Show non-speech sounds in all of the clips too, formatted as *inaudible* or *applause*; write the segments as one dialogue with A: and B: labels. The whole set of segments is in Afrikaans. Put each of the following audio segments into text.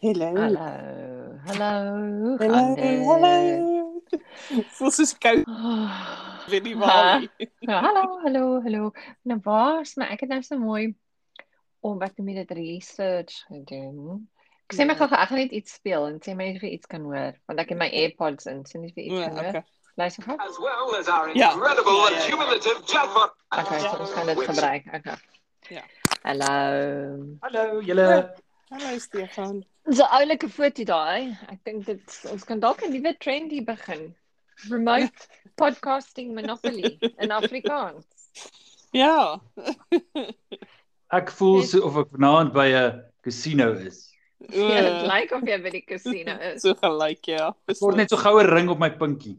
A: Hello.
B: Hallo, hallo.
A: Hallo.
B: hoe gaan dit?
A: Hallo. *laughs* Het voel soos koud
B: Ah,
A: in die Bali.
B: ja, nou, hallo, hallo, hallo. Nou waar's my ek het nou so mooi om wat noem jy dit research gedoen. Ek sê my
A: Ja.
B: gou-gou, ek gaan net iets speel en sê my net of jy iets kan hoor want ek het my AirPods in, sê net of jy iets
A: Ja,
B: kan hoor.
A: okay.
B: Luister gou.
C: as well as our
A: Yeah.
C: incredible
A: Yeah,
C: and
A: yeah, yeah.
C: cumulative jackpot.
B: Okay, so ons gaan dit
C: Which-
B: gebruik. Okay.
A: Ja.
B: Hallo.
D: Hallo julle.
A: Hallo Stefan.
B: Dis 'n oulike foto daai. Ek dink dit ons kan dalk 'n nuwe trend hier begin. Remote podcasting monopoly in Afrikaans. *laughs*
A: Ja.
D: Ek voel so of ek vanaand by 'n casino is.
A: O,
B: Ja, dit lyk of jy by die casino
A: *laughs*
B: is.
A: so gelyk ja.
D: Ek word net so goue ring op my pinkie.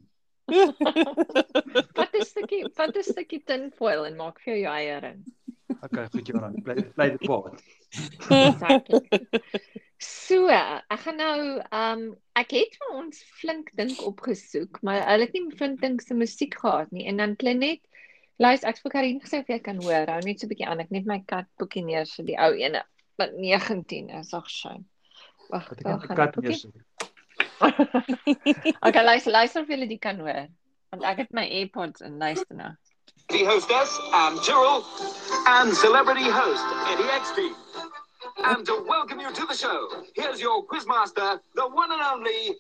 B: Vat 'n stukkie, vat 'n stukkie tinfoil en maak vir jou jou eie ring.
D: Okay, goed Joran, bly bly dit paat.
B: Exactly. So, ek gaan nou ehm um, ek het vir ons flink dink opgesoek, maar hulle het nie flink dink se musiek gehad nie en dan klink net luister, ek's vir Karin gesê of jy kan hoor. Hou net so 'n bietjie aan. Ek net my kat boekie neer so die ou ene wat 19 is. Ag, shame. Wag,
D: Wat ek
B: waar
D: net
B: Ja, gaan
D: 'n kat
B: die boekie?
D: neersit.
B: Okay, luister, luister of julle die kan hoor. Want ek het my AirPods in luister nou.
C: The hostess, Anne Tyrrell, and celebrity host, Eddie Exby. And to welcome you to the show, here's your quizmaster, the one and only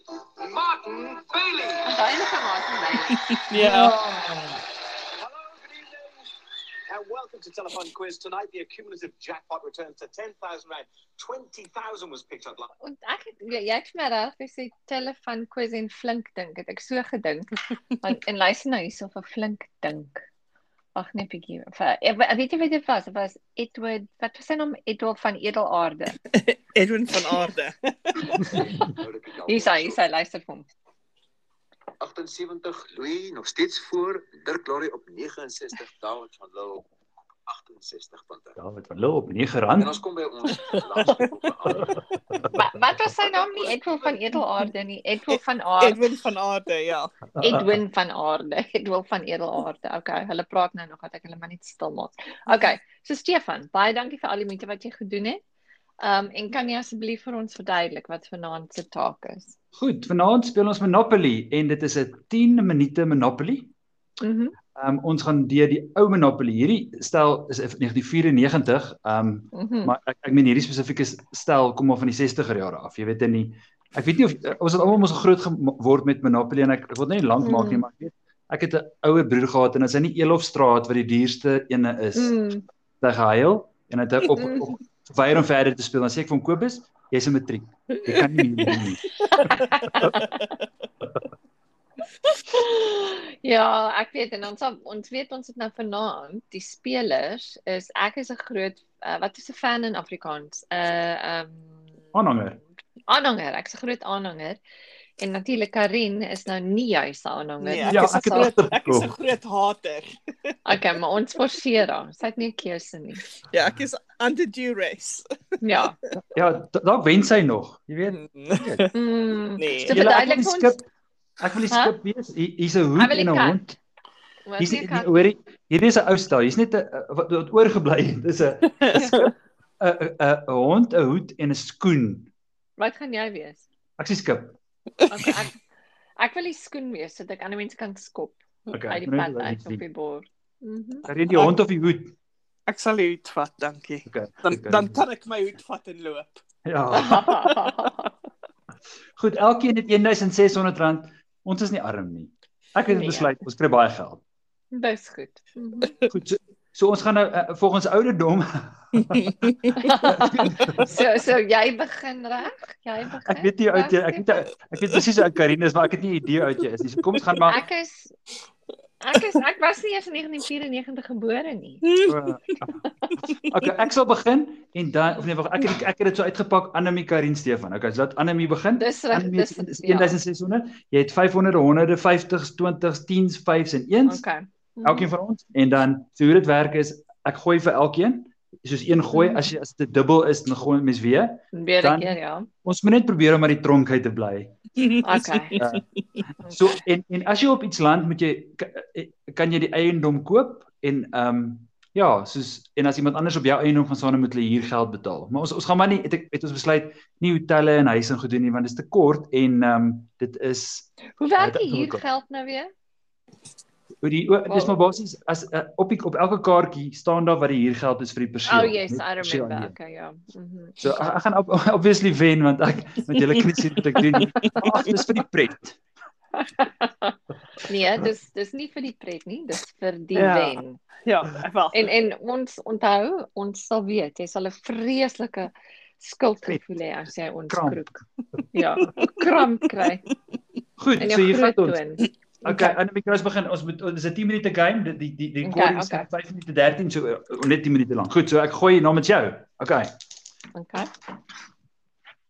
C: Martin Bailey.
B: Onthou net gemaak en daai.
A: Ja.
C: Hello, good evening, and welcome to Telephone Quiz. Tonight, the accumulative jackpot returns to 10,000 Rand. 20,000 was picked up last
B: En ek het ja, jy jy het vir my reg gesê telefoon quiz en flink dink het ek so gedink. Want en luister nou hierso vir flink dink. Ag nee bietjie. vir- Ek we- weet jy wat dit was? Dit was Edward, wat was sy naam? Edward van Edelaarde.
A: Edwin van Aarde.
B: Hier is hy, hier is hy luister vir hom.
C: 78 Louis nog steeds voor Dirk Lorry op 69 David van Lille op 68 punte.
D: Ja, wat van hulle op
C: En
D: R9.
C: Ja, ons kom by *laughs* ons laaste vraag.
B: Maar wat was sy naam nie? Edward van Edelaarde nie. Edward van Aarde.
A: Edwin van Aarde, ja.
B: Edwin van Aarde. *laughs* Edwin van Edelaarde. Okay, hulle praat nou nog dat ek hulle maar net stil maak. Okay, so Stefan, baie dankie vir al die moeite wat jy gedoen het. Ehm um, en kan jy asseblief vir ons verduidelik wat vanaand se taak is?
D: Goed, vanaand speel ons Monopoly en dit is 'n 10 minute Monopoly.
B: Mhm. Mm
D: Um ons gaan deur die ou Monopoly. Hierdie stel is 1994. Um
B: mhm. Mm
D: *laughs* Maar ek ek meen hierdie spesifieke s- stel kom maar van die 60er jare af. Jy weet in die ek weet nie of eh, ons het almal mos groot geword met Monopoly en ek ek wil net nie lank maak nie,
B: Mm.
D: maar ek weet ek het 'n ouer broer gehad en as hy nie Elofstraat wat die duurste ene is, mm.
B: Mm.
D: hy gehuil en hy het
B: *laughs*
D: hy op,
B: Mm.
D: op weier om verder te speel. Dan sê ek vir hom Kobus, jy's 'n matriek. Jy kan nie meer doen nie.
B: *laughs* Ja, ek weet en ons sal- ons weet ons het nou vanaand die spelers is ek is 'n groot uh, wat is 'n fan in Afrikaans? 'n uh, um
D: Aanhanger.
B: aanhanger. Ek's 'n groot aanhanger. En natuurlik Karin is nou nie juis 'n aanhanger.
A: Nee,
B: nie.
A: ek
D: Ja,
A: is 'n
D: ek het
B: Sy-
A: groot,
D: agtergekom.
A: ek is 'n groot hater.
B: Okay, maar ons forceer haar. Sy het nie 'n keuse nie.
A: Ja, ek is under duress.
B: Ja.
D: Ja, da- dalk wen sy nog. Jy weet.
B: Mm.
A: *laughs* Nee. *laughs*
B: So
D: Julle, ek
B: verduidelik
D: wil die
B: vir ons.
D: skip Ek wil die
B: Huh?
D: skip wees. Hier- Hier's 'n
B: Ek wil
D: hoed
B: die
D: en 'n
B: kat.
D: hond.
B: Hoor
D: Hier's
B: jy,
D: die-
B: Kat?
D: hoor jy, hierdie is 'n ou stel. Hier's net 'n eh, wat wat oorgebly het. Dis 'n 'n 'n 'n 'n hond, 'n hoed en 'n skoen.
B: Wat gaan jy wees?
D: Ek sê skip.
B: Okay, ek
A: *laughs*
B: ek wil die skoen wees sodat ek ander mense kan skop
D: Okay.
B: uit die pad uit op die bord.
A: *laughs*
B: Mhm. *laughs*
D: Red die hond of die hoed. *laughs*
A: Ek sal die hoed vat, dankie.
D: Okay.
A: Dan
D: okay.
A: dan kan ek my hoed vat en loop.
D: Ja. Goed, elkeen het R1600. Ons is nie arm nie. Ek het
B: Nee.
D: besluit ons kry baie geld.
B: Dis goed.
D: *laughs*
B: Mhm.
D: Goed. So, so ons gaan nou uh, volgens ouderdom.
B: *laughs*
D: *laughs*
B: so so jy begin reg? Jy begin.
D: Ek weet nie hoe oud jy ek weet ek weet presies hoe oud Karine is, maar ek het nie 'n idee hoe oud jy is nie. So kom ons gaan maar
B: ek is ek is ek was nie eers in 1994 gebore nie.
D: Okay, eh, *laughs* ek sal begin en dan of nee, wag, ek het ek het dit so uitgepak Anemie Karin Stefan. Okay, so laat Anemie begin.
B: Dis reg.
D: Anemie
B: Dis
D: is is
B: ja,
D: 1600. Jy het 500, 100, 50s, 20s, 10s, 5s en 1s.
B: Okay.
D: Elkeen van ons en dan so hoe dit werk is ek gooi vir elkeen. Soos een gooi as jy as dit dubbel is dan gooi mens weer.
B: Weer
D: dan-
B: een keer ja.
D: Ons moet net probeer om uit die tronk uit te bly.
B: Okay.
D: So eh, en en as jy op iets land moet jy kan jy die eiendom koop en ehm um, Ja, soos en as iemand anders op jou eiendom gaan staan, moet hulle hier geld betaal. Maar ons ons gaan maar nie het, ek- het ons besluit nie hotelle en huise en goed doen nie want dit is te kort en ehm um, dit is
B: Hoe werk
D: dit
B: die
D: is moeilik.
B: huurgeld nou weer?
D: Hoe die o, dis maar basies as uh, op die, op elke kaartjie staan daar wat die huurgeld is vir die perseel.
B: Oh yes,
D: net
B: I
D: perseel
B: remember.
D: alleen.
B: Okay, ja. Mm -hmm.
D: nee. So ek, ek gaan op, *laughs* obviously wen want ek met julle knie sien wat ek doen.
B: *laughs*
D: Ag, dis vir die pret.
B: Nee, dis dis nie vir die pret nie, dis vir die
A: Ja.
B: wen.
A: *laughs* Ja, wel.
B: En en ons onthou, ons sal weet, jy sal 'n vreeslike skuldgevoel hê as jy ons
D: Kramp.
B: kroek. Ja, kramp kry.
D: Goed,
B: En
D: so
B: jou
D: hier
B: groot
D: vat ons.
B: toon.
D: *clears throat*
B: Ja.
D: Okay, Anne Mikras begin. Ons moet dis 'n 10 minute game. Die die die die
B: Okay,
D: recording is
B: Ja, okay.
D: 5 minute 13 so uh, net 10 minute lank. Goed, so ek gooi namens jou. Okay.
B: Okay.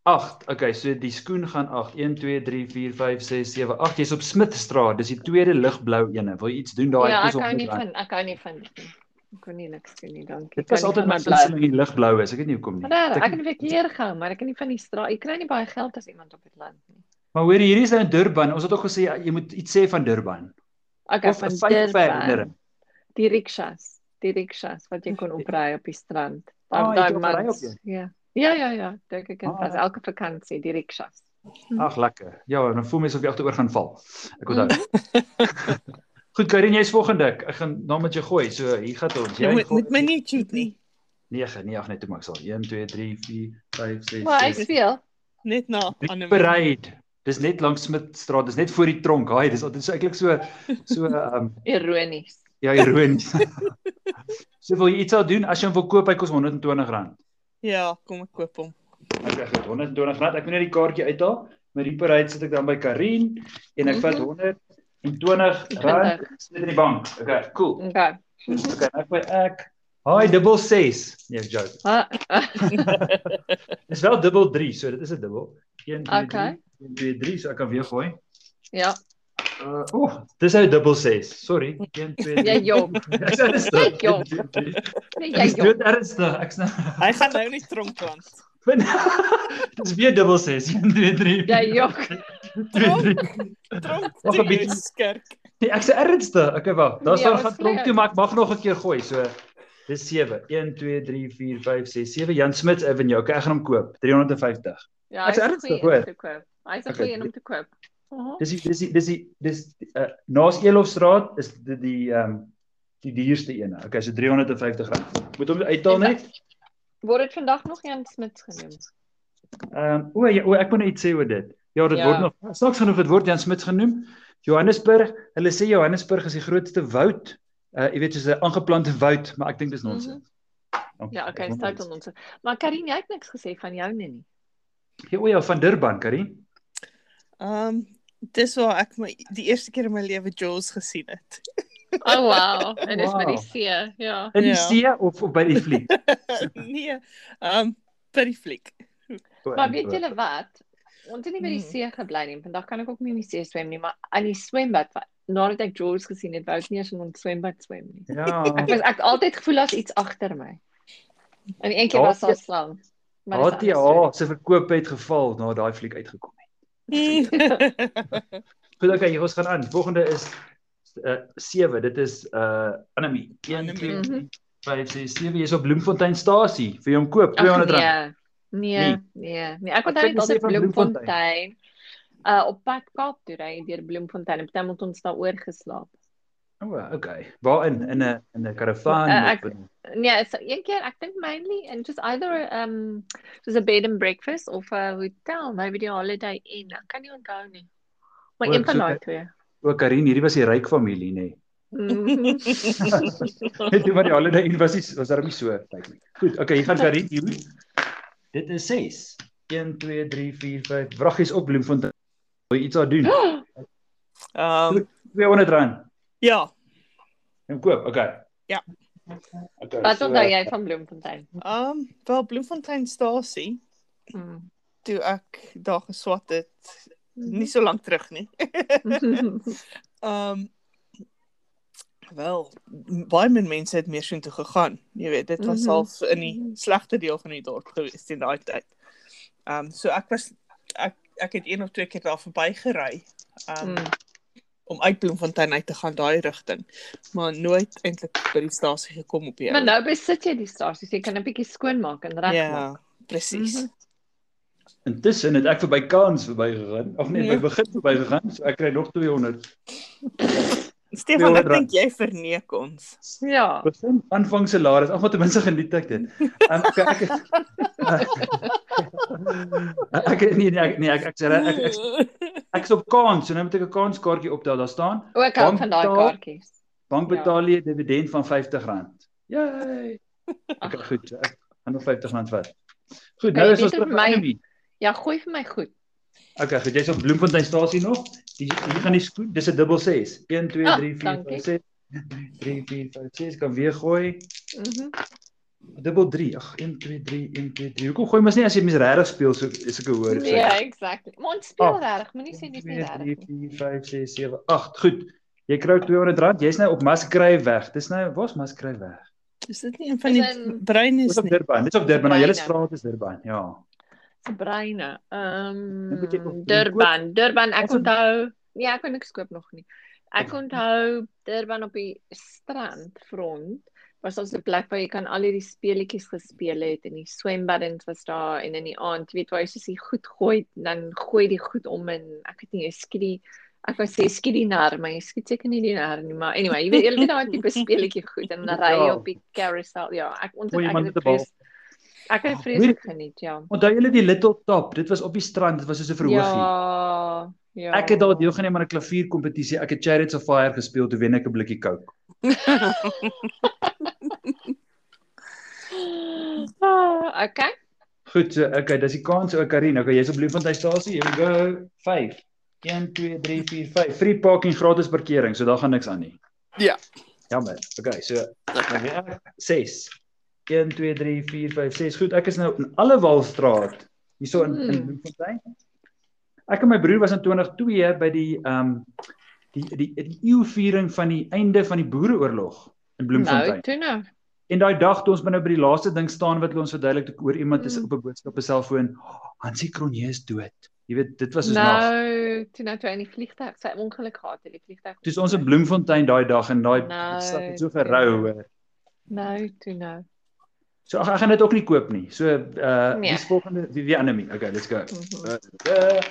D: 8. Okay, so die skoen gaan 8. 1 2 3 4 5 6 7 8. Jy's op Smithstraat. Dis die tweede ligblou ene. Wil jy iets doen daai?
B: Ja,
D: Dis
B: ek hou nie
D: 100 rand.
B: van ek hou nie van dit nie. Ek kon nie niks doen nie, dankie.
D: Dit was altyd my gunsteling die ligblou is. Ek weet nie hoekom nie.
B: Maar Nee, ek
D: Tik-
B: het dit keer gehou, maar ek kan nie van die straat, ek kry nie baie geld as iemand op dit land nie.
D: Maar hoor hier is nou in Durban. Ons het ook gesê "Ja, jy moet iets sê van Durban.
B: Okay,
D: Of
B: van
D: 'n vyf
B: Durban.
D: herinnering.
B: Die rikshas, die rikshas wat jy
D: *laughs*
B: kon opry op die strand.
D: Ah,
B: Daar
D: jy
B: daar
D: kon opry op
B: mans. Ja. Ja ja ja, dink ek
D: Ah.
B: kan vas elke vakansie die rikshas. Mhm.
D: Ag lekker. Ja, dan voel mens of jy agteroor gaan val. Ek onthou.
B: Mhm.
D: *laughs* Goed, Karin, jy's volgende. Ek gaan na met jou gooi. So hier gaan ons.
A: Jy
D: Jy
A: moet,
D: gooi
A: moet my nie shoot nie.
D: 9, nee, ag net toe maak sal. 1 2 3 4 5 6
B: Maar hy
D: 7.
B: speel.
A: Net na
D: Dis
A: Annelie.
D: bereid. Dis net langs Smithstraat. Dis net voor die tronk. Haai, dis altyd so eintlik so so ehm um,
B: Ironies.
D: ja, ironies. *laughs* so wil jy iets al doen as jy hom wil koop, hy kos R120.
A: Ja, kom ek koop
D: *laughs*
A: hom.
D: Okay, goed, R120. Ek moet net die kaartjie uithaal. Met die parade sit ek dan by Karin en ek vat
B: Mhm.
D: R120 sit in die bank. Okay, cool.
B: Okay.
D: Okay, ek by ek. Haai, dubbel 6. Nee, ek joke.
B: Ah,
D: Dis wel dubbel 3, so dit is 'n dubbel. 1 2
B: Okay.
D: 1 2 3, so ek kan weer gooi.
B: ja,
D: Uh, oh, dis hy dubbel 6. Sorry. 1 2
B: jy
D: 3.
B: jong.
D: Ek sê dis *laughs* dit.
B: Jy jong. Nee, jy
D: Ek
B: jong.
D: doen ernstig. Ek's nou. *laughs*
A: Hy gaan nou nie tronk land.
D: Dis weer dubbel 6. 1 2 3.
B: Jy jong.
D: 2 3.
A: Tronk
D: Nog 'n
A: toe
D: bietjie.
A: jy skerk.
D: Nee, ek sê ernstig. Okay, wag. Daar
B: Nee,
D: staan
B: ons
D: gaan
B: vry
D: klomp toe,
B: uit.
D: maar ek mag nog 'n keer gooi. So dis 7. 1 2 3 4 5 6 7 Jan Smith Avenue. Okay, ek gaan hom koop. 350.
B: Ja,
D: Ek's
B: hy's 'n
D: ernstig,
B: goeie
D: hoor.
B: een te koop. Hy's 'n
D: Okay.
B: goeie een om te koop. Mhm.
D: Dis die dis die dis die dis uh, naas Elofstraat is dit die ehm um, die duurste een. Okay, so R350. Moet hom uithaal
B: En da-
D: net.
B: Word dit vandag nog Jan Smit genoem?
D: Ehm um, o, ja, o, ek moet nou iets sê oor dit. Ja, dit ja.
B: Ja.
D: word nog snaaks genoeg dit word Jan Smits genoem. Johannesburg, hulle sê Johannesburg is die grootste woud. Uh jy weet soos 'n aangeplante woud, maar ek dink dis nonsens. Mm -hmm.
B: Ja, okay, staat dan ons. Maar Karin, jy het niks gesê van jou nie nie.
D: Ja, o ja, van Durban, Karin.
A: Ehm um, dis waar ek my die eerste keer in my lewe Jaws gesien het.
B: *laughs*
A: *laughs*
B: Oh wow, en dis met
D: Wow.
B: die see. Ja.
D: In die
A: Ja.
D: see of, of by die vlieg?
A: nee. Ehm um, per die
D: *laughs*
A: fliek.
D: O,
B: *laughs* Maar
D: in-
B: weet julle wat? Ons het nie by die
A: Hmm.
B: see gebly nie. Vandag kan ek ook nie in die see swem nie, maar aan die swembad wa- nadat ek George gesien het, wou ek nie eens in ons swembad swem nie. *laughs*
D: Ja.
B: Ek was ek het altyd gevoel as iets agter my. En een keer
D: Daar
B: was daar
D: het-
B: slang. Maar dis 'n ander
D: HTA se verkope het geval na daai fliek uitgekom het.
A: Ehm,
D: Goed, okay, hier, ons gaan aan. Volgende is uh 7. Dit is uh Anemie. 1 2
A: Anemie.
B: Mhm.
D: 5 6 7 jy's op Bloemfonteinstasie vir jou om koop
B: Ag,
D: R200. rand.
B: Nee, nee, nee, nee. Ek onthou
D: Ek
B: net
D: dink ons
B: altyd
D: sê van Bloemfontein.
B: Bloemfontein. Uh op pad Kaap toe ry deur Bloemfontein en partymal het ons daar oorgeslaap.
D: O, oh, okay. Waarin in 'n in 'n karavaan
B: nee. Eh,
D: uh,
B: ek-
D: of in
B: Nee, so een keer ek dink mainly in just either um soos 'n bed and breakfast of 'n hotel, maybe die Holiday Inn. Ek kan nie onthou nie. Maar
D: O,
B: een
D: ek
B: van
D: soek-
B: daai
D: *laughs*
B: twee.
D: O, Karin, hierdie was die ryk familie, nê. Nee.
B: Mhm.
D: *laughs* Toe maar die Holiday Inn was nie was daar nie so ryk nie. Goed, okay, hier gaan Karin hier. Dit is 6. 1 2 3 4 5. Wraggies op Bloemfontein. Wil jy iets daar doen?
A: Ehm um,
D: R200 rand.
A: ja,
D: En koop. Okay.
A: Ja.
D: Okay.
B: Wat onthou jy van Bloemfontein?
A: ehm um, wel Bloemfonteinstasie
D: *laughs*
B: Mm.
A: toe ek daar geswat het, nie so lank terug nie. Ehm um, wel, m- baie min mense het meer soontoe gegaan. Jy weet, dit was
B: Mhm.
A: al in die slegte deel van die dorp gewees in daai tyd. Ehm um, so ek was ek ek het een of twee keer daar verby gery. Ehm um,
B: Mm.
A: mm. om uit Bloemfontein uit te gaan daai rigting, maar nooit eintlik by die stasie gekom op die
B: Maar nou besit jy die stasies, jy kan 'n bietjie skoon maak en
A: Ja,
B: regmaak.
A: yeah, presies.
B: Mhm.
D: Intussen het ek verby kans verbygegaan. Ag nee,
A: Nee.
D: by begin verbygegaan, so ek kry nog 200.
A: Stefan, ek
D: 200 rand.
A: dink jy verneek ons.
B: Ja.
D: Begin aanvang salaris. Ag, maar ten minste geniet ek dit. Um, ek ek *laughs* Ek nee nee, ek nee ek ek sê ek ek- ek-
B: *laughs*
D: ek's op kans, so nou moet ek 'n kanskaartjie optel. Daar staan
B: Ook hou van daai
D: Bankbetaal.
B: kaartjies.
D: bank
B: Ja.
D: betaal jy 'n dividend van R50. Jay. Okay, goed. so Ek gaan nog R50 vat. Goed,
B: Kan
D: nou
B: jy
D: is ons
B: dit op
D: terug
B: my-
D: by Annelie.
B: Ja, gooi vir my goed.
D: Okay, goed. Jy's op Bloemfontein stasie nog. Die, hier gaan die skoen. Dis 'n dubbel 6. 1 2
B: Ah,
D: 3 4
B: dankie.
D: 5 6. 3 4 5 6 kan weer gooi.
B: Mhm.
D: Dubbel 3. Ag, 1 2 3 1 2 3. Hoekom gooi mens nie as jy mens regtig speel so is ek hoor.
B: Nee, exactly. Maar ons speel
D: Ah.
B: reg, moenie sê dis nie reg
D: 3
B: nie.
D: 4 5 6 7 8. Goed. Jy kry R200. Jy's nou op Maskry weg. Dis nou waar's Maskry weg?
A: Is dit nie een van
B: Is
A: die
B: in-
A: brein is
D: Dis op
A: nie?
D: Durban. Dis op Durban. Nou julle
B: Byna.
D: straat is Durban. Ja.
B: Se breine.
D: Dan Nou moet jy ook-
B: Ehm
D: jy
B: Durban, Durban ek
D: Ons het-
B: onthou. Nee, ek kon niks koop nog nie. Ek
D: Ja.
B: onthou Durban op die strandfront was ons 'n plek waar jy kan al hierdie speletjies gespeel het en die swembaddens was daar en in die aand, weet waar jy soos die goed gooi, dan gooi die goed om en ek weet nie, jy skiet die ek wou sê skiet die nar, maar jy skiet seker nie die nar nie, maar anyway, jy weet jy weet daai tipe speletjie goed en dan ry jy
D: Ja.
B: op die carousel. Ja, ek onthou
D: Gooi
B: ek
D: iemand
B: het
D: met 'n
B: dit
D: bal.
B: vrees- ek het dit
D: Ah,
B: vreeslik
D: weet-
B: geniet, ja.
D: Onthou julle die Little Top? Dit was op die strand. Dit was soos 'n verhoogie.
B: Ja, ja.
D: Ek het daar deelgeneem aan 'n klavierkompetisie. Ek het Chariots of Fire gespeel toe wen ek 'n blikkie Coke.
B: Ah, okay.
D: Goed, so okay, dis die kans. Okay, Karin, okay, jy's op Bloemfontein stasie. Here we go. 5 1 2 3 4 5. Free parking, gratis parkering. So daar gaan niks aan nie.
A: Ja.
D: Jammer. Okay, so nou weer ek 6 1 2 3 4 5 6. Goed, ek is nou in Allewalstraat hierso in, in
B: Hmm.
D: Bloemfontein. Ek en my broer was in 2002 by die ehm um, die die die eeuviering van die einde van die Boereoorlog in Bloemfontein.
B: Nou, toe nou.
D: En daai dag toe ons binne by die laaste ding staan wat hulle ons verduidelik het oor iemand is
B: Mm.
D: op 'n boodskap op 'n selfoon, "Oh, Hansie Kronje is dood. Jy weet, dit was ons nag.
B: Nou, toe nou toe in die vliegtuig, sy het ongeluk gehad in die vliegtuig.
D: Toe is ons in Bloemfontein daai dag en daai
B: Nou,
D: stad het so
B: toe.
D: gerou hoor.
B: Nou, toe nou.
D: So ag ek gaan dit ook nie koop nie. So uh
B: Nee.
D: dis volgende wie wie Annelie. Okay, let's go.
B: Mhm.
D: Uh, uh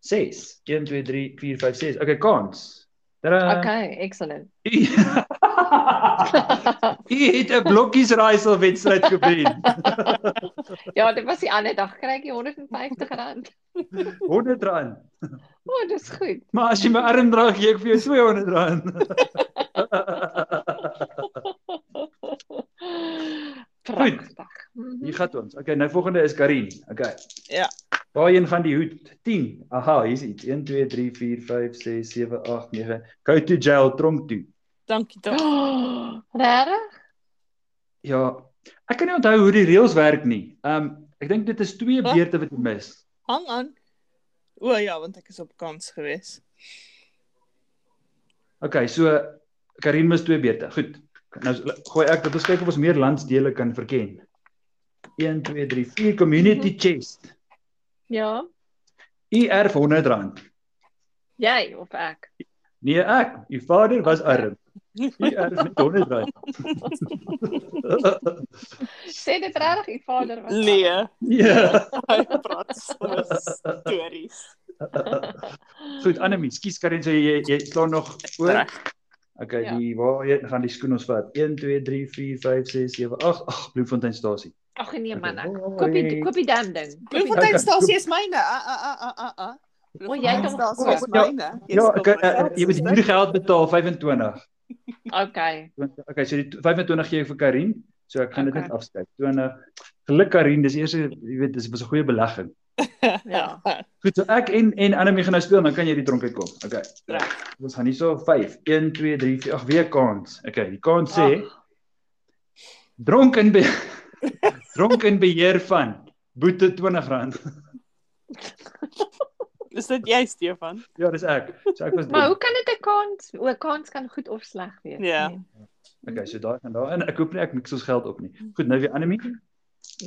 D: 6 1 2 3 4 5 6. Okay, kans. Tada. *laughs*
B: Okay, excellent. *laughs*
D: U U het 'n blokkiesraaisel wedstryd
B: *laughs*
D: gewen.
B: Ja, dit was die ander dag kry ek die R150.
D: R100.
B: O, oh, dis goed.
D: Maar as jy my arm dra, gee ek vir jou R200.
B: Pragtig. Mhm.
D: Hier gaan ons. Okay, nou volgende is Karin. Okay.
A: Ja.
D: Daarheen gaan die hoed. 10. Aha, hier's iets. 1 2 3 4 5 6 7 8 9. Go to jail tronk toe.
A: Dankie
B: *gasps*
D: *gasps*
A: tog.
B: Oh, Regtig?
D: Ja. Ek kan nie onthou hoe die reëls werk nie. Um ek dink dit is twee
A: Wat?
D: beurte wat jy mis.
A: Hang aan. O ja, want ek is op kans gewees.
D: Okay, so Karin mis twee beurte. Goed. Nou gooi ek dat ons kyk of ons meer landsdele kan verken. 1 2 3 4 community chest.
B: Ja,
D: U erf R100.
B: jy of ek.
D: Nee, ek, u vader was arm. U erf net R100.
B: Sê dit regtig, u vader
A: *laughs*
B: was
A: Nee,
D: Ja.
A: hy praat so stories.
D: Goed, Annelie, skuis Karin, so jy jy sla nog oor.
A: Reg.
D: Okay,
B: Ja.
D: die waar jy gaan die skoen ons vat. 1 2 3 4 5 6 7 8. Ag, Bloemfonteinstasie.
B: Ag nee man, ek
D: Okay.
B: koop die koop die damn ding.
A: Bloemfontein stasie is myne. Ah ah ah ah, ah ah.
B: O, jy het hom
A: stasie is
B: gekoop.
A: myne.
D: Ja, ek eh, jy moet hier geld betaal 25.
B: Okay.
D: 20. Okay, so die 25 gee ek vir Karin. So ek gaan dit
B: Okay.
D: net afskryf. 20. Geluk Karin, dis eers jy weet, dis was 'n goeie belegging.
B: *laughs* Ja.
D: Goed, so ek en en Annelie gaan nou speel, dan kan jy die tronk uitkom. Okay.
A: Reg.
D: Ons gaan hierso 5 1 2 3 4 ag weer kans. Okay, die kans sê dronk in be *laughs* dronk in beheer van boete R20.
A: Is dit jy Stefan?
D: Ja, dis ek. So ek was
B: Maar hoe
D: dronk.
B: kan dit 'n kans, o, 'n kans kan goed of sleg wees.
A: Ja.
B: nee.
D: Okay, so daai gaan daarin. Ek hoop nie ek mik ons geld op nie. Goed, nou weer Annelie.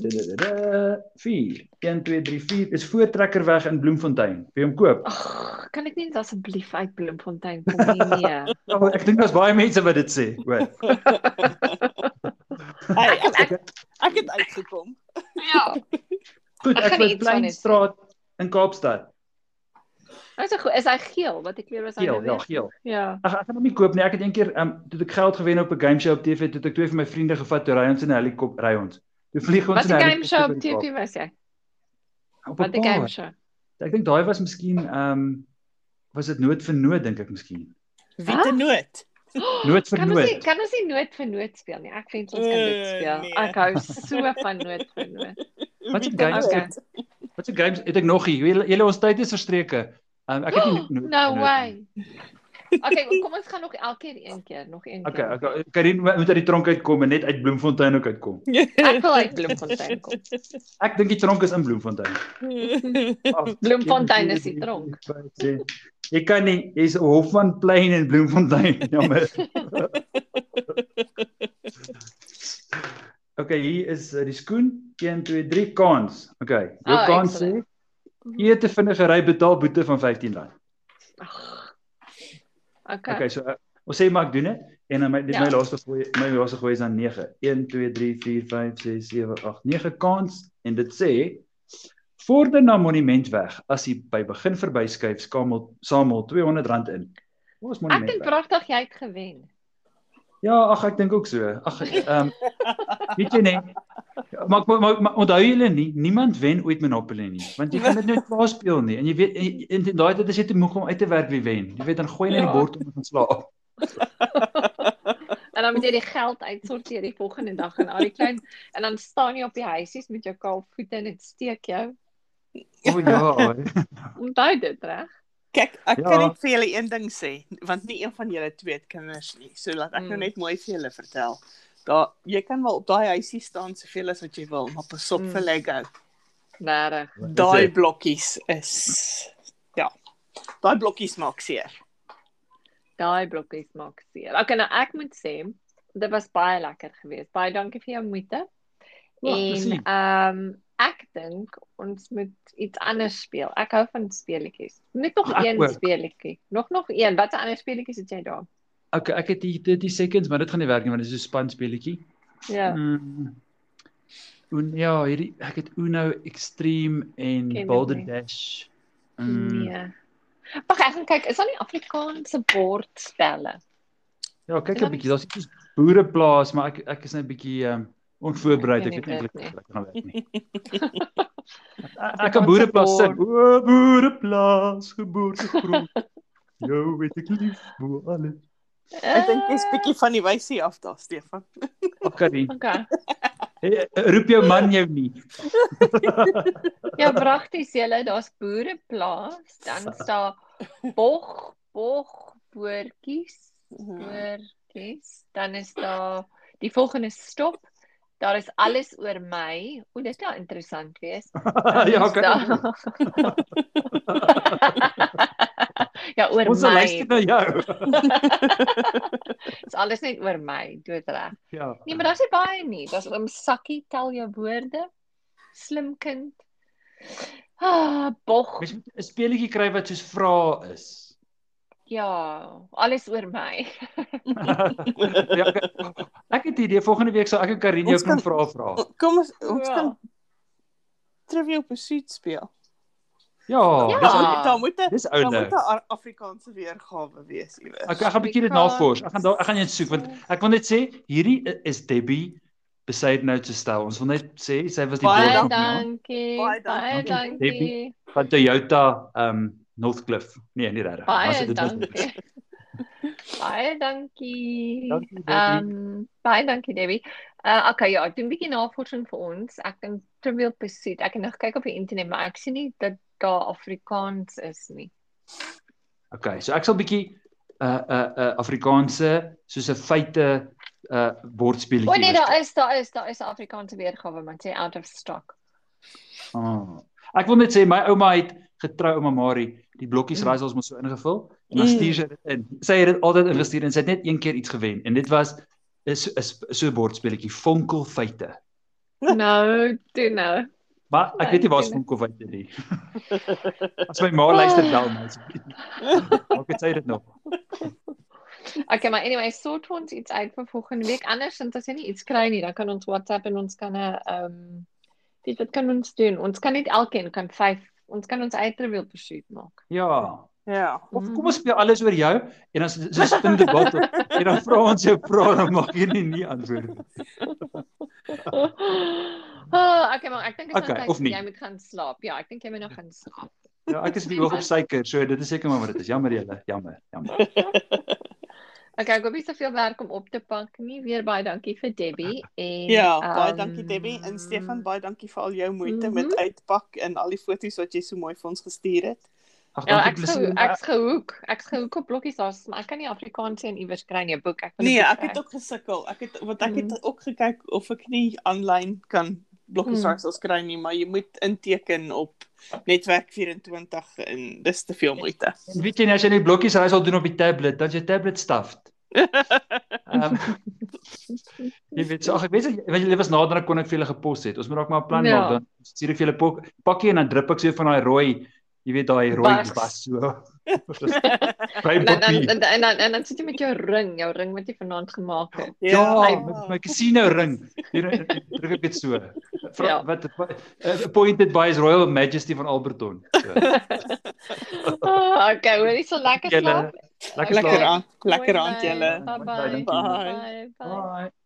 D: Da-da-da-da. 4. 1 2 3 4 is voortrekker weg in Bloemfontein. Wie hom koop?
B: Ag, kan ek net asseblief uit Bloemfontein kom nie
A: *laughs*
B: nee.
D: Oh, ek dink daar's baie mense wat dit sê.
B: *laughs*
D: Hoor.
A: Hey, ek, ek, ek het uitgekom.
B: ja.
D: Goed,
B: Ek
D: ek
B: gaan iets van
D: wil
B: dit sê.
D: Pleinstraat in Kaapstad.
B: Is hy goed? Is hy geel? Wat ek kleur is hy
D: Geel,
B: nou?
D: ja,
B: weer?
D: geel.
B: Ja.
D: Ag ek gaan hom nie koop nie. Ek het eendag ehm um, toe ek geld gewen op 'n game show op TV, toe het ek twee van my vriende gevat toe ry ons in 'n helikopter ry ons. Toe vlieg ons
B: Wat 'n
D: in 'n
B: game show op
D: helikopter oor die
B: TV was jy?
D: Kaap. Op 'n
B: Wat 'n game
D: paar.
B: show.
D: Ek dink daai was miskien ehm um, was dit nood vir nood dink ek miskien.
A: Wie
B: Ah?
A: te nood?
D: Nood vir
B: Kan ons nie
D: nood.
B: kan ons nie noot vir noot speel nie. Ek wens ons kan dit
A: Eh,
B: speel.
A: nee.
B: Ek hou so van noot vir noot.
D: Wat
A: Wie
D: se
A: te
D: games
A: nood? *laughs*
B: Okay.
D: Wat se games het ek nog hier? Julle julle ons tyd is verstreke. Ehm um, ek het
B: *gasps*
D: nie nood
B: No
D: vir nood nie.
B: way. Okay, *laughs* kom ons gaan nog elkeen een keer, nog een keer.
D: Okay, okay. Karin moet uit die tronk uitkom en net uit Bloemfontein ook uitkom.
B: Ek wil uit Bloemfontein kom.
D: Ek dink die tronk is in Bloemfontein.
A: *laughs*
D: Ag,
B: *laughs* Bloemfontein is die tronk.
D: Jy kan nie, jy's op Hofman Plain in Bloemfontein. *laughs*
B: *laughs*
D: Jammer. Okay, hier is eh, die skoen. 1 2 3 kans. Okay. Jou
B: Oh,
D: oh, kans sê
B: excellent.
D: eet te vinnige ry betaal boete van R15. Okay.
B: Ag.
D: okay,
B: Okay.
D: so uh, ons sê maar ek doen dit en dan my dit my
B: Ja.
D: laaste gooi my laaste gooi is dan 9. 1 2 3 4 5 6 7 8 9 kans en dit sê vorder na monument weg as jy by begin verbyskuif skamel samel R200 in. Ons
B: Ek
D: monument.
B: dink
D: Weg.
B: pragtig jy het gewen.
D: Ja, ag ek dink ook so. Ag ehm um, weet jy net Maar, maar, maar, maar onthou julle nie, niemand wen ooit Monopoly nie, want jy gaan dit nooit klaar speel nie. En jy weet en, en, en daai tyd is jy te moeg om uit te werk wie wen. Jy weet dan gooi jy net die
B: Ja.
D: bord om en gaan slaap.
B: En dan moet jy die geld uitsorteer die volgende dag en al die klein en dan staan jy op die huisies met jou kaal voete en dit steek jou.
D: O oh, ja.
B: Onthou dit reg?
A: Kyk, ek ja.
D: Ja.
A: kan net vir julle een ding sê, want nie een van julle twee het kinders nie. So laat ek mm. nou
B: Mm.
A: net mooi vir julle vertel. Daar jy kan wel op daai huisie staan soveel as wat jy wil, maar pas op
B: Mm.
A: mm. vir Lego.
B: Regtig.
A: Daai blokkies is ja. Daai blokkies maak seer.
B: Daai blokkies maak seer. Okay, nou ek moet sê, dit was baie lekker geweest. Baie dankie vir jou moeite.
D: Ja,
B: en
D: plesier.
B: ehm um, ek dink ons moet iets anders speel. Ek hou van speletjies. Net nog
D: Ja, Ek
B: een
D: ook.
B: speletjie. Nog nog een. Wat 'n ander speletjies het jy daar?
D: Okay, ek het die 30 seconds, maar dit gaan nie werk nie want dit is so spanspeletjie.
B: Ja.
D: Mm. Un, ja, hierdie ek het Uno Extreme en
B: Ken dit
D: Boulder
B: nie.
D: Dash. Mm.
B: Nee. Wag, ek gaan kyk, is daar nie Afrikaanse bordspelle?
D: Ja, kyk
B: Ken
D: 'n bietjie, daar's iets soos boereplaas, maar ek ek is net 'n bietjie um, onvoorbereid.
B: Ek ken
D: Ek weet nie
B: nie dit
D: eintlik
B: nie.
D: hoe dit gaan werk nie. Ek- ek kan boereplaas sing. O boereplaas, geboortegrond. Jou weet ek lief bo alles.
B: *laughs*
A: Ek dink jy's bietjie van die wysie af daar, Stefan.
D: Okay,
B: Eh, Okay.
D: hey, roep jou man jou nie. *laughs*
B: Ja, pragtig julle, daar's boereplaas, dan is daar bog, bog boortjies,
D: Ja.
B: Mhm. boortjies, dan is daar die volgende stop. Daar is alles oor my. O, dit sal interessant wees.
D: *laughs* ja, okay.
B: *laughs* ja, oor
D: Ons ja.
B: my.
D: sal luister na jou.
B: Dis alles net oor my, doodreg.
D: *laughs* Ja.
B: Nee, maar daar's nie baie nie. Daar's oom Sakkie tel jou woorde. Slim kind. Ah, bog.
D: Mens moet 'n speletjie kry wat soos vrae is.
B: *laughs* Ja, alles oor my.
D: ja, ek, ek het die idee volgende week sal ek en Karin jou
A: Ons
D: kan
A: kan-
D: vra vra.
A: Kom ons ons
B: Ja.
A: ja. kan Trivial Pursuit speel.
D: Ja,
B: Ja.
D: dis ou-
A: Daar moet daar moet 'n
D: dis
A: daar
D: oude.
A: moet 'n Ar- Afrikaanse weergawe wees iewers.
D: Ek ek gaan 'n bietjie
B: Oh
D: dit navors. Ek gaan daar- ek gaan dit soek want ek wil net sê hierdie i- is Debbie beside nou te stel. Ons wil net sê sy was die
A: Baie
B: Baie
D: beeld van
B: dankie.
A: Baie dankie.
B: Baie dankie.
D: Debbie. ja, van Toyota um Northcliffe. Nee, nie regtig.
B: Baie
D: dit.
B: dankie. *laughs* Baie dankie.
D: Dankie,
B: Ehm,
D: Debbie.
B: baie dankie Debbie. Uh okay, ja, doen 'n bietjie navorsing vir ons. Ek dink Trivial Pursuit. Ek het nog gekyk op die internet, maar ek sien nie dat daar Afrikaans is nie.
D: Okay, so ek sal bietjie 'n uh, 'n uh, 'n uh, Afrikaanse soos 'n feite 'n uh,
B: O
D: bordspeletjie.
B: oh, nee, daar is, daar is, daar is 'n Afrikaanse weergawe, maar dit sê out of
D: *laughs*
B: stock.
D: Ah. Ek wil net sê my ouma het getrou ouma Marie, die blokkies
B: Mm.
D: raaisels mos so ingevul en dan
A: Mm.
D: stuur sy dit in. Sy het dit altyd ingestuur en sy het net een keer iets gewen en dit was is is so 'n bordspeletjie Vonkelfeite.
B: Nou, toe nou.
D: Maar ek weet nie waar skool kom uit nie. *laughs* As my ma luister wel my asseblief. Maak dit sy dit nog.
B: Okay, maar anyway, sort vir ons iets uit vir volgende week. Andersins as jy nie iets kry nie, dan kan ons WhatsApp en ons kan 'n ehm um, weet wat kan ons doen? Ons kan nie elkeen kan 5 ons kan ons eie trivial pursuit
D: *laughs*
B: maak. *laughs*
D: Ja.
A: Ja.
D: Of kom ons speel alles oor jou en dan s- so spin debat op- en dan vra ons jou vrae dan mag jy nie nie antwoord nie.
B: oh, okay, maar ek dink dit is
D: Okay,
B: nou
D: of
B: tyd
D: nie.
B: jy moet gaan slaap. Ja, ek dink jy moet nog gaan slaap.
D: Ja, ek is nie hoog op suiker, so dit is seker maar wat dit is. Jammer julle, jammer, jammer.
B: Okay, ek hoop jy het soveel werk om op te pak nie. Weer baie dankie vir
D: *laughs*
B: Debbie en
A: Ja, baie
B: ehm,
A: dankie Debbie en Stefan, baie dankie vir al jou moeite
B: Mhm.
A: met uitpak en al die foto's wat jy so mooi vir ons gestuur het.
D: Ag,
B: Ja,
D: dankie
B: ek's gehou-
D: Blessie.
B: ek's gehoek. Ek's gehoek op blokkies daar, maar ek kan nie Afrikaans en iewers kry nie 'n boek. Ek wil 'n
A: Nee,
B: boek
A: ek
B: kry.
A: het ook gesukkel. Ek het want ek het ook gekyk of ek nie aanlyn kan blokkies
B: Mhm.
A: artikels kry nie, maar jy moet inteken op netwerk 24 en dis te veel moeite.
D: En weet jy nie as jy net blokkies reis al doen op die tablet, dan is jou tablet
B: *laughs*
D: stuffed. Ehm Jy weet, so, ag ek weet as jy- want julle was nader dan kon ek vir julle gepos het. Ons moet dalk maar 'n plan
B: Ja.
D: maak dan. Stuur ek vir julle pok- pakkie en dan drup ek so van daai rooi, jy weet daai rooi
B: Bas. *laughs*
D: bas so. By
B: En dan
D: pakkie.
B: en dan- en dan en dan sit jy met jou ring, jou ring wat jy vanaand gemaak
A: *laughs*
B: het.
D: Ja,
A: Ja.
D: met my casino ring. Hier eh, druk ek dit so. Vra,
B: Ja.
D: ja. Wat uh, appointed by His Royal Majesty van Alberton. So.
B: Oh, okay, hoor jy so lekker
D: Julle,
B: slaap.
D: Lekker
A: Lekker
D: slaap.
A: aan, lekker aan julle.
B: Bye bye.
D: Dankie.
B: Bye bye.
D: Bye.